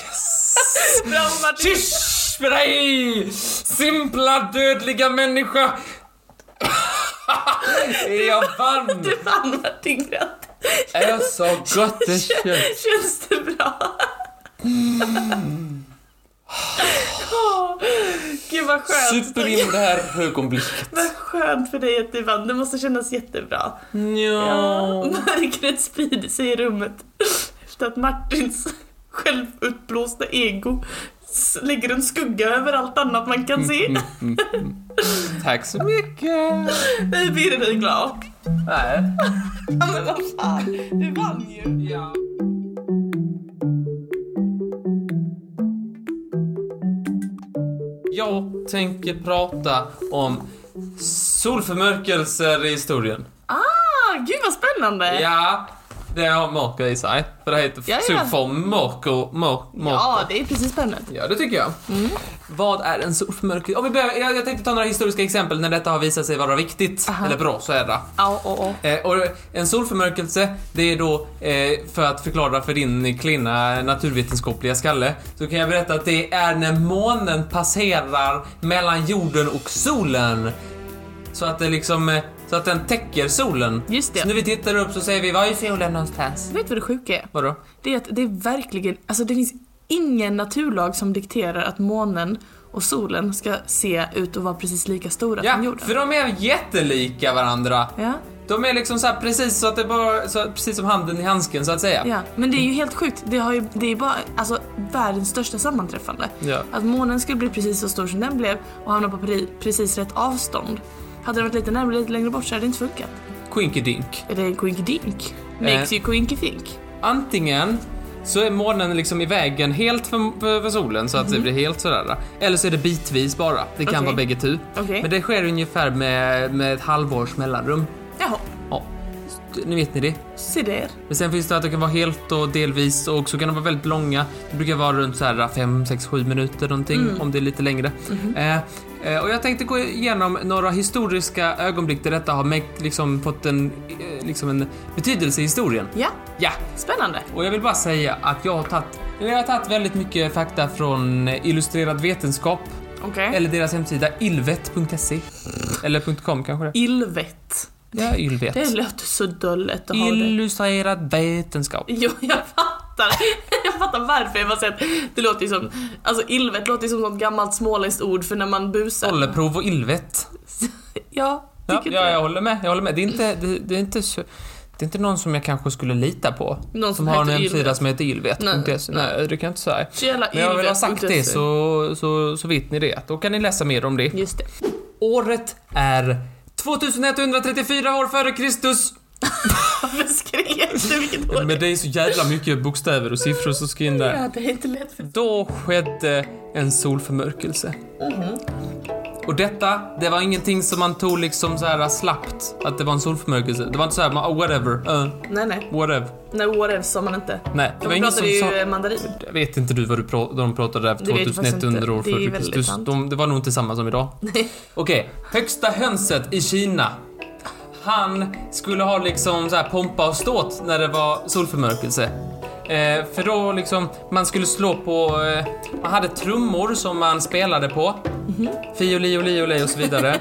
A: Yes! Bra Martin!
B: Tysch med dig! Simpla dödliga människa! jag vann!
A: Du vann Martin, grattis!
B: Är jag så gott det känns?
A: Känns det bra?
B: Mm.
A: Åh, Gud vad skönt.
B: Super in det här ögonblicket.
A: Vad skönt för dig att du vann, det måste kännas jättebra. Ja,
B: Nja.
A: mörkret sprider sig i rummet efter att Martins självutblåsta ego s- lägger en skugga över allt annat man kan
B: Mm.
A: se.
B: Tack så mycket.
A: Nej, blir du glad?
B: Nej.
A: Ja, men vad fan, du vann ju.
B: Ja. Jag tänker prata om solförmörkelser i historien.
A: Ah, gud vad spännande.
B: Ja, det har mörker i sig. För det heter
A: Ja, ja.
B: solförmörker. Mörk, mörker.
A: ja Mm. det är precis spännande.
B: Ja, det tycker jag. Vad är en solförmörkelse? Om vi börjar, jag, jag tänkte ta några historiska exempel när detta har visat sig vara viktigt.
A: Aha.
B: Eller bra, så är det.
A: Ja, oh, oh.
B: Eh, och en solförmörkelse, det är då, eh, för att förklara för din klinna naturvetenskapliga skalle, så kan jag berätta att det är när månen passerar mellan jorden och solen. Så att det liksom, eh, så att den täcker solen.
A: Just det.
B: Så när vi tittar upp så säger vi, var är solen någonstans?
A: Vet du vad det sjuka är?
B: Vadå?
A: Det är att det är verkligen, alltså det finns ingen naturlag som dikterar att månen och solen ska se ut och vara precis lika stora som
B: Ja,
A: jorden.
B: för de är jättelika varandra.
A: Ja,
B: De är liksom så här precis så att det bara, så, precis som handen i handsken så att säga.
A: ja, men det är ju helt sjukt. Det, har ju, det är bara alltså, världens största sammanträffande.
B: Ja.
A: Att månen skulle bli precis så stor som den blev och hamna på pre- precis rätt avstånd. Hade den varit lite närmare, lite längre bort så hade det inte funkat.
B: Quinkydink.
A: Är det en quinkydink? Makes
B: Eh.
A: you quinkydink.
B: Antingen så är månen liksom i vägen helt för, för, för solen så att det blir helt sådär. Eller så är det bitvis bara. Det kan
A: Okej.
B: vara bägge tu.
A: Okej.
B: Men det sker ungefär med, med ett halvårs mellanrum.
A: Jaha,
B: Ja, nu vet ni det.
A: se där.
B: Men sen finns det att det kan vara helt och delvis och så kan de vara väldigt långa. Det brukar vara runt så här 5, 6, 7 minuter någonting om det är lite längre. Eh, eh, och jag tänkte gå igenom några historiska ögonblick där detta har mäkt, liksom, fått en, eh, liksom en betydelse i historien.
A: Ja,
B: Ja,
A: spännande.
B: och jag vill bara säga att jag har tagit jag har tagit väldigt mycket fakta från eh, Illustrerad Vetenskap
A: Okej.
B: eller deras hemsida ilvet.se. Eller .com kanske det
A: Ilvet.
B: Ja, Ylvet.
A: Det låter så dullet att ha det.
B: Illustrerad Vetenskap.
A: Jo, jag fattar. Jag fattar varför jag bara säger att det låter ju som, alltså ilvet låter ju som något gammalt småländskt ord för när man busar.
B: Olleprov och Ilvet.
A: Ja,
B: Ja,
A: tycker
B: ja,
A: du?
B: jag håller med. Jag håller med. Det, är inte, det, det, är inte så, det är inte någon som jag kanske skulle lita på.
A: Någon
B: som
A: som
B: har en
A: heter
B: hemsida
A: Ylvet.
B: som heter ilvet.se. Nej. det kan jag inte säga.
A: Så jävla
B: Men jag vill ha
A: Ylvet
B: sagt
A: punkt
B: det
A: se.
B: så, så, så vet ni det. Då kan ni läsa mer om det.
A: Just det.
B: Året är 2134 år före Kristus.
A: Varför skrek du? Vilket år?
B: Men det är så jävla mycket bokstäver och siffror som ska in där.
A: Ja, det är inte lätt för
B: Då skedde en solförmörkelse.
A: Mhm.
B: Och detta, det var ingenting som man tog liksom så här slappt, att det var en solförmörkelse. Det var inte så här, man, oh, whatever, uh,
A: Nej, nej.
B: whatever.
A: Nej, whatever sa man inte.
B: Nej, det var
A: De
B: ingen
A: pratade
B: som
A: ju
B: sa...
A: eh, mandarin.
B: Jag vet inte du vad du pra- de pratade där för
A: Det vet jag faktiskt
B: 2100 år
A: inte. Det är
B: före
A: väldigt
B: Kristus.
A: sant.
B: De, det var nog inte samma som idag. Okej, högsta hönset i Kina. Han skulle ha liksom så här pompa och ståt när det var solförmörkelse. Eh, för då liksom, man skulle slå på, eh, man hade trummor som man spelade på. Fio, lio, lio, lio och så vidare.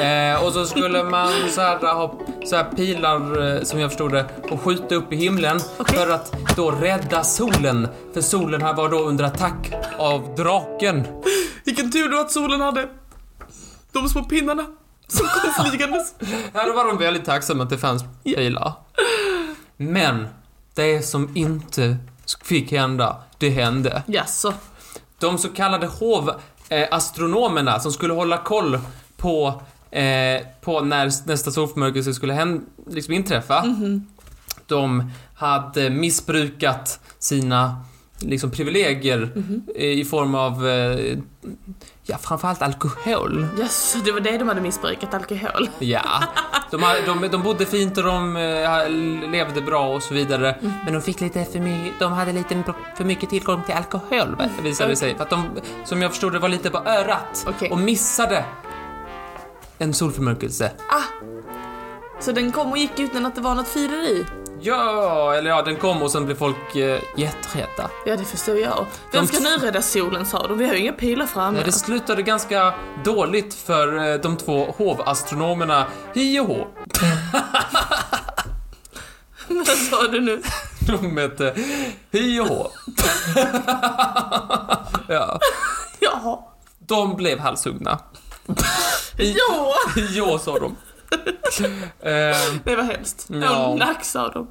B: eh, och så skulle man så här, ha så här pilar, eh, som jag förstod det, och skjuta upp i himlen
A: Okej.
B: för att då rädda solen. För solen här var då under attack av draken.
A: Vilken tur då att solen hade de små pinnarna som kom flygandes.
B: Ja, då var de väldigt tacksamma att det fanns bilar. Men det som inte fick hända, det hände.
A: Jaså?
B: De så kallade hovastronomerna som skulle hålla koll på, eh, på när nästa solförmörkelse skulle hän, liksom inträffa. De hade missbrukat sina liksom, privilegier eh, i form av eh, ja, framförallt alkohol.
A: Jaså, det var det de hade missbrukat, alkohol.
B: Ja, de, hade, de, de bodde fint och de eh, levde bra och så vidare. Men de fick lite för mycket, de hade lite för mycket tillgång till alkohol visade det sig. För att de, som jag förstod det, var lite på örat
A: Okej.
B: och missade en solförmörkelse.
A: Så den kom och gick utan att det var något fireri?
B: Ja, eller ja, den kom och sen blev folk eh, jätteheta.
A: Ja, det förstår jag. Vem
B: De-
A: ska nu rädda solen sa de, vi har ju inga pilar framme.
B: Nej, Det slutade ganska dåligt för eh, de två hovastronomerna, hi och hå.
A: Vad sa du nu?
B: De hette hi och hå. ja.
A: Jaha.
B: De blev halshuggna.
A: Ja!
B: ja, sa de. Ehm,
A: Det var hemskt.
B: Ja.
A: Ja. Nack sa de.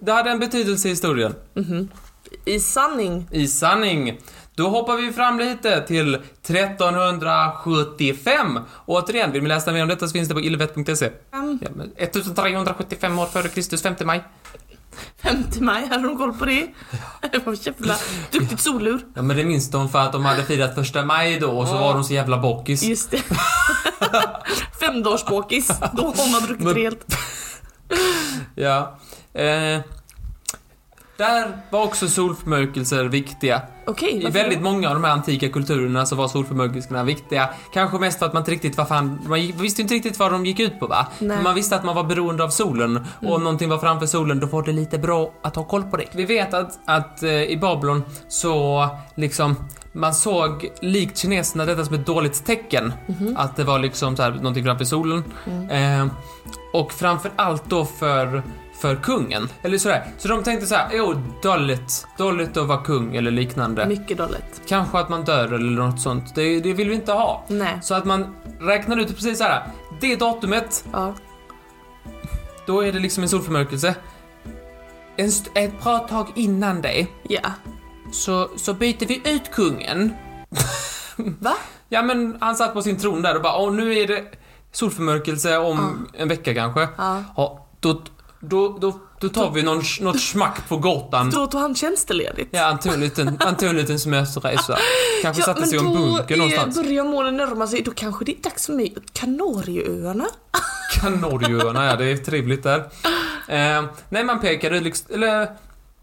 B: det hade en betydelse i historien.
A: I sanning.
B: I sanning. Då hoppar vi fram lite till 1375. Och återigen, vill ni läsa mer om detta så finns det på illvet.se. Ja, men 1375 år före Kristus, 5 maj.
A: 5 maj, hade de koll på det? Det var jävla duktigt solur.
B: Ja, men det minns de för att de hade firat första maj då och så var de så jävla bockis.
A: Just det. Femdagsbåkis. Då har man druckit
B: Men-
A: rejält.
B: Ja. Eh, där var också solförmörkelser viktiga.
A: Okej,
B: I
A: varför
B: väldigt
A: då?
B: många av de här antika kulturerna så var solförmörkelserna viktiga. Kanske mest för att man inte riktigt vad fan, man gick- visste inte riktigt vad de gick ut på va?
A: Nej. Mm.
B: Men Man visste att man var beroende av solen och om någonting var framför solen då var det lite bra att ha koll på det. Vi vet att, att eh, i Babylon så liksom man såg likt kineserna detta som ett dåligt tecken.
A: Mhm.
B: Att det var liksom så här, någonting framför solen.
A: Mm.
B: Eh, och framför allt då för för kungen. Eller sådär. Så de tänkte såhär, jo, dåligt. Dåligt att vara kung eller liknande.
A: Mycket dåligt.
B: Kanske att man dör eller något sånt. Det, det vill vi inte ha.
A: Nej.
B: Så att man räknar ut precis så här. Det datumet,
A: Ja.
B: då är det liksom en solförmörkelse. En st- ett bra tag innan det
A: Ja.
B: så, så byter vi ut kungen.
A: Va?
B: Ja men han satt på sin tron där och bara åh nu är det solförmörkelse om en vecka kanske.
A: Ja.
B: Ja, då, då, då, då tar vi någon, något smack på Gotland.
A: Då tog han tjänsteledigt.
B: Ja, han tog en liten, han tog en liten semesterresa. Kanske satte sig i en bunker någonstans.
A: Då är- börjar månen närma sig, då kanske det är dags för mig. Kanarieöarna?
B: Kanarieöarna, ja det är trevligt där. Eh, nej, man pekade liksom, eller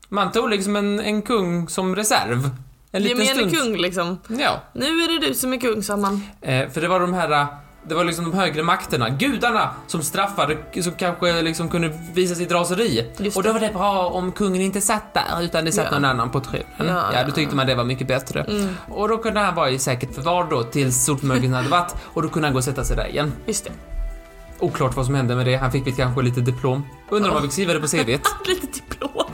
B: man tog liksom en, en kung som reserv. En liten
A: Gemene
B: stund.
A: kung liksom.
B: Ja,
A: Nu är det du som är kung, sa man.
B: eh, för det var de här, eh, det var liksom de högre makterna, gudarna, som straffade, som kanske liksom kunde visa sitt raseri.
A: Just
B: Och då
A: det.
B: var det bra om kungen inte satt där, utan det satt
A: Ja.
B: någon annan på tronen. Ja,
A: Ja, Mm.
B: då tyckte man det var mycket bättre. Och då kunde han vara i säkert förvar då, tills solförmögelsen hade varit, och då kunde han gå och sätta sig där igen.
A: Just det.
B: Oklart vad som hände med det. Han fick väl kanske lite diplom. Undrar om han fick skriva det på CVt.
A: Lite diplom.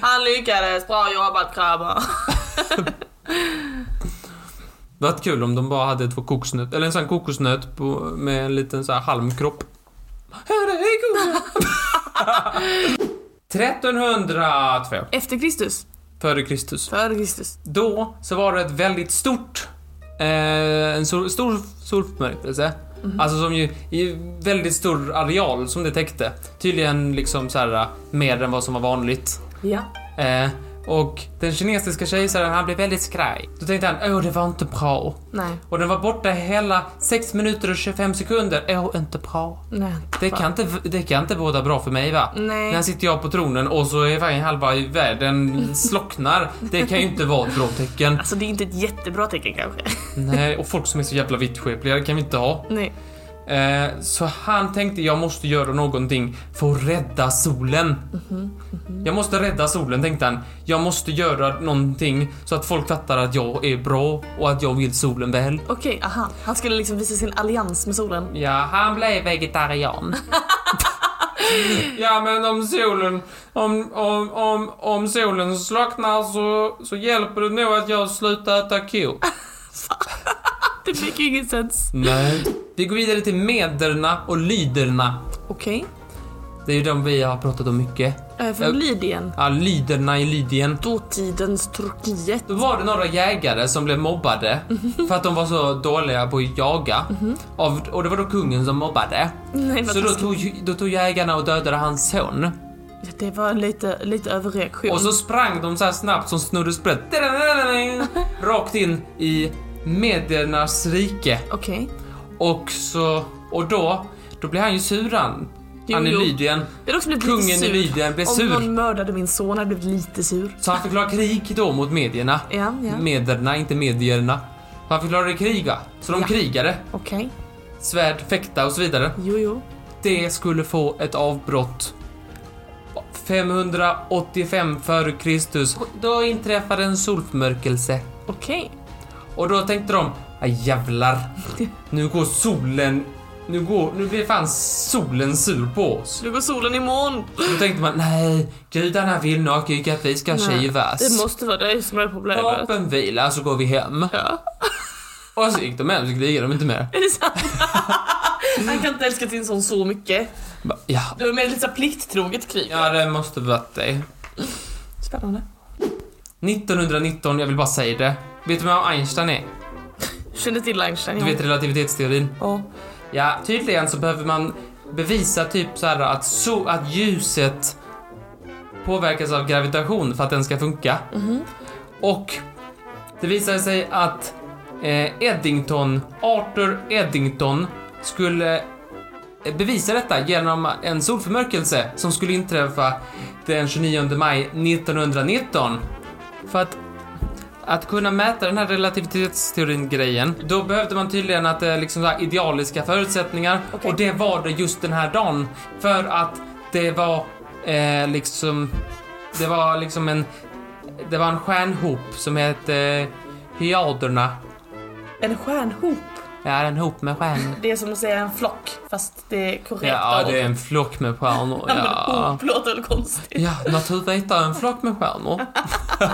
A: Han lyckades, bra jobbat grabbar.
B: Det hade varit kul om de bara hade två kokosnöt, eller en sån här kokosnöt på, med en liten så här halmkropp. Här är kungen! 1302
A: Efter Kristus?
B: före Kristus.
A: Före Kristus.
B: Då så var det ett väldigt stort, eh, en sol, stor solförmörkelse. Alltså som ju, i väldigt stor areal som det täckte. Tydligen liksom så här mer än vad som var vanligt.
A: Ja.
B: Eh, och den kinesiska kejsaren han blev väldigt skraj. Då tänkte han åh det var inte bra.
A: Nej.
B: Och den var borta hela 6 minuter och 25 sekunder. Åh inte bra.
A: Nej.
B: Det kan inte, det kan inte båda bra för mig va?
A: Nej.
B: När sitter jag på tronen och så är fan halva världen slocknar. Det kan ju inte vara ett bra tecken.
A: Alltså det är inte ett jättebra tecken kanske.
B: Nej, och folk som är så jävla vittskepliga, det kan vi inte ha.
A: Nej.
B: Eh, så han tänkte jag måste göra någonting för att rädda solen. Jag måste rädda solen tänkte han. Jag måste göra någonting så att folk fattar att jag är bra och att jag vill solen väl.
A: Okej, aha. Han skulle liksom visa sin allians med solen.
B: Ja, han blev vegetarian. Ja men om solen, om, om, om, om solen slocknar så, så hjälper det nog att jag slutar äta ko.
C: Det make ingen sens.
B: Nej. Vi går vidare till mederna och lyderna.
A: Okej. Eh,
B: Det är ju de vi har pratat om mycket.
A: Okay. Från Lydien.
B: Ja, lyderna i Lydien.
A: Dåtidens Turkiet.
B: Då var det några jägare som blev mobbade för att de var så dåliga på att jaga. Av, och det var då kungen som mobbade.
A: Nej, vad
B: Så då
A: taskigt.
B: tog, ju- då tog jägarna och dödade hans son.
A: Det var lite, lite överreaktion.
B: Och så sprang de så här snabbt som Snurre Sprätt. Rakt in i mediernas rike.
A: Okej.
B: Och så, och då, då blir han ju sur han.
A: Jo,
B: Han i
A: jo.
B: Lydien.
A: Jag hade också blivit
B: Kungen
A: lite
B: i
A: sur.
B: Lydien blev
A: Om
B: sur.
A: någon mördade min son hade jag blivit lite sur.
B: Så han förklarar krig då mot medierna.
A: Ja, ja.
B: Mederna, inte medierna. Så han förklarade krig va? Så de
A: Ja.
B: krigade.
A: Okej.
B: Svärd, fäkta och så vidare.
A: Jo, jo.
B: Det skulle få ett avbrott. 585 före Kristus. Då inträffade en solförmörkelse.
A: Okej.
B: Och då tänkte de, "Aj, jävlar. Nu går solen, nu går, nu blir fan solen sur på oss.
C: Nu går solen i moln.
B: Då tänkte man, nej, gudarna vill nog ju att vi ska
A: Nej, Det
B: kivas.
A: måste vara dig som är problemet.
B: Vapenvila så går vi hem.
A: Ja.
B: Och så gick de hem så krigade de inte mer.
C: Är det sant? Han kan inte älska sin son så mycket.
B: Bara, Ja,
C: Det var mer lite så här plikttroget krig.
B: ja det måste varit det.
A: Spännande.
B: 1919, jag vill bara säga det. Vet du vem Einstein är?
C: Kände till Einstein.
B: Du vet relativitetsteorin?
A: Ja.
B: Ja, tydligen så behöver man bevisa typ så här att, so- att ljuset påverkas av gravitation för att den ska funka. Och det visade sig att eh, Eddington, Arthur Eddington, skulle eh, bevisa detta genom en solförmörkelse som skulle inträffa den 29 maj 1919. För att att kunna mäta den här relativitetsteorin-grejen, då behövde man tydligen att det är liksom så här idealiska förutsättningar
A: Okej.
B: och det var det just den här dagen. För att det var eh, liksom, det var liksom en, det var en stjärnhop som hette eh, Hyaderna.
C: En stjärnhop.
B: Ja, en hop med stjärnor.
C: Det är som att säga en flock fast det är korrekt.
B: Ja,
C: av-
B: det är en flock med stjärnor.
C: Ja, men
B: Ja,
C: Hop låter väl konstigt.
B: ja naturvetare, en flock med stjärnor.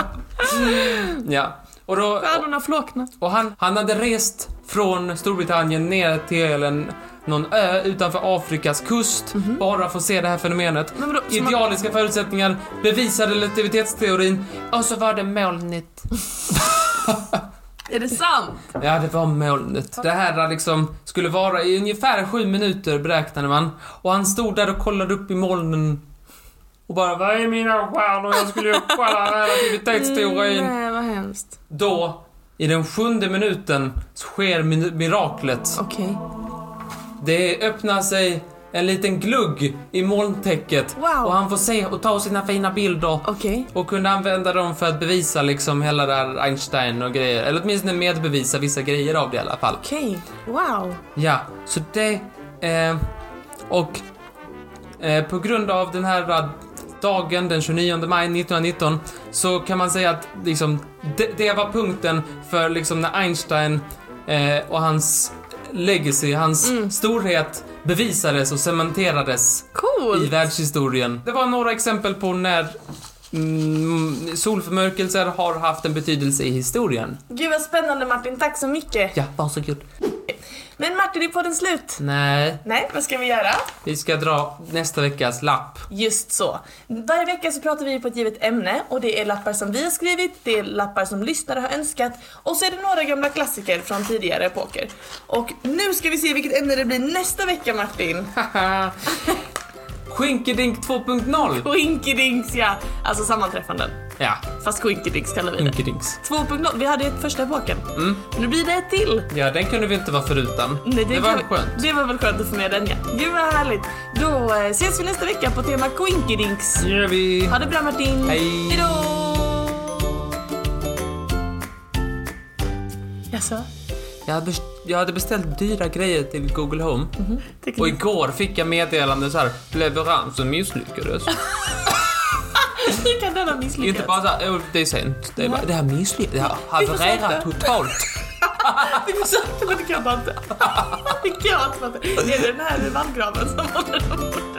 B: Ja, och då...
A: Stjärnorna flaknar.
B: Och han, han hade rest från Storbritannien ner till en, någon ö utanför Afrikas kust bara för att se det här fenomenet.
A: Men vadå, som att-
B: Idealiska förutsättningar, bevisade relativitetsteorin och så var det molnigt.
C: Är det sant?
B: Ja, det var molnigt. Det här liksom skulle vara i ungefär sju minuter beräknade man och han stod där och kollade upp i molnen och bara Var är mina stjärnor? Jag skulle ju kolla relativitetsteorin.
A: Mm, Nej, vad hemskt.
B: Då, i den sjunde minuten, sker min- miraklet.
A: Okej.
B: Det öppnar sig en liten glugg i molntäcket
A: Wow.
B: och han får se och ta sina fina bilder
A: Okej.
B: och kunde använda dem för att bevisa liksom hela det här Einstein och grejer. Eller åtminstone medbevisa vissa grejer av det i alla fall.
A: Okej. Wow.
B: Ja, så det... Eh, och eh, på grund av den här eh, dagen den 29 maj 1919 så kan man säga att liksom, det, det var punkten för liksom när Einstein eh, och hans legacy, hans storhet bevisades och cementerades i
A: Cool.
B: världshistorien. Det var några exempel på när mm, solförmörkelser har haft en betydelse i historien.
C: Gud vad spännande Martin, tack så mycket.
B: Ja, Mm. varsågod.
C: Men Martin, är podden slut?
B: Nej,
C: Nej, vad ska vi göra?
B: vi ska dra nästa veckas lapp.
C: Just så. Varje vecka så pratar vi på ett givet ämne och det är lappar som vi har skrivit, det är lappar som lyssnare har önskat och så är det några gamla klassiker från tidigare epoker. Och nu ska vi se vilket ämne det blir nästa vecka Martin.
B: Skinkedink 2.0!
C: Quinkedinks ja! Alltså sammanträffanden.
B: Ja,
C: Fast Quinkedinks kallar
B: Mm.
C: vi det.
B: Skinkedinks.
C: 2.0, vi hade ett första epoken.
B: Mm.
C: Men nu blir det ett till.
B: Ja, den kunde vi inte vara förutan.
C: Nej,
B: det var
C: kan-
B: skönt.
C: Det var väl skönt att få med den ja. Gud vad härligt. Då eh, ses vi nästa vecka på tema Quinkedinks.
B: Nu gör vi...
C: Ha det bra Martin.
B: Hej.
C: Hejdå! Jaså?
B: Jag hade, best- jag hade beställt dyra grejer till Google Home.
C: Mhm. Tycker
B: Och
C: ni-
B: igår fick jag meddelande så här, leveransen misslyckades.
C: Hur kan den ha misslyckats?
B: inte bara så här, "Åh, det är sent. Det, är bara, det här misslyckades, det har
C: Vi försökte.
B: havererat totalt.
C: Vi försökte men det kan man inte. Det kan man inte. Är det den här med vallgraven som håller dem borta?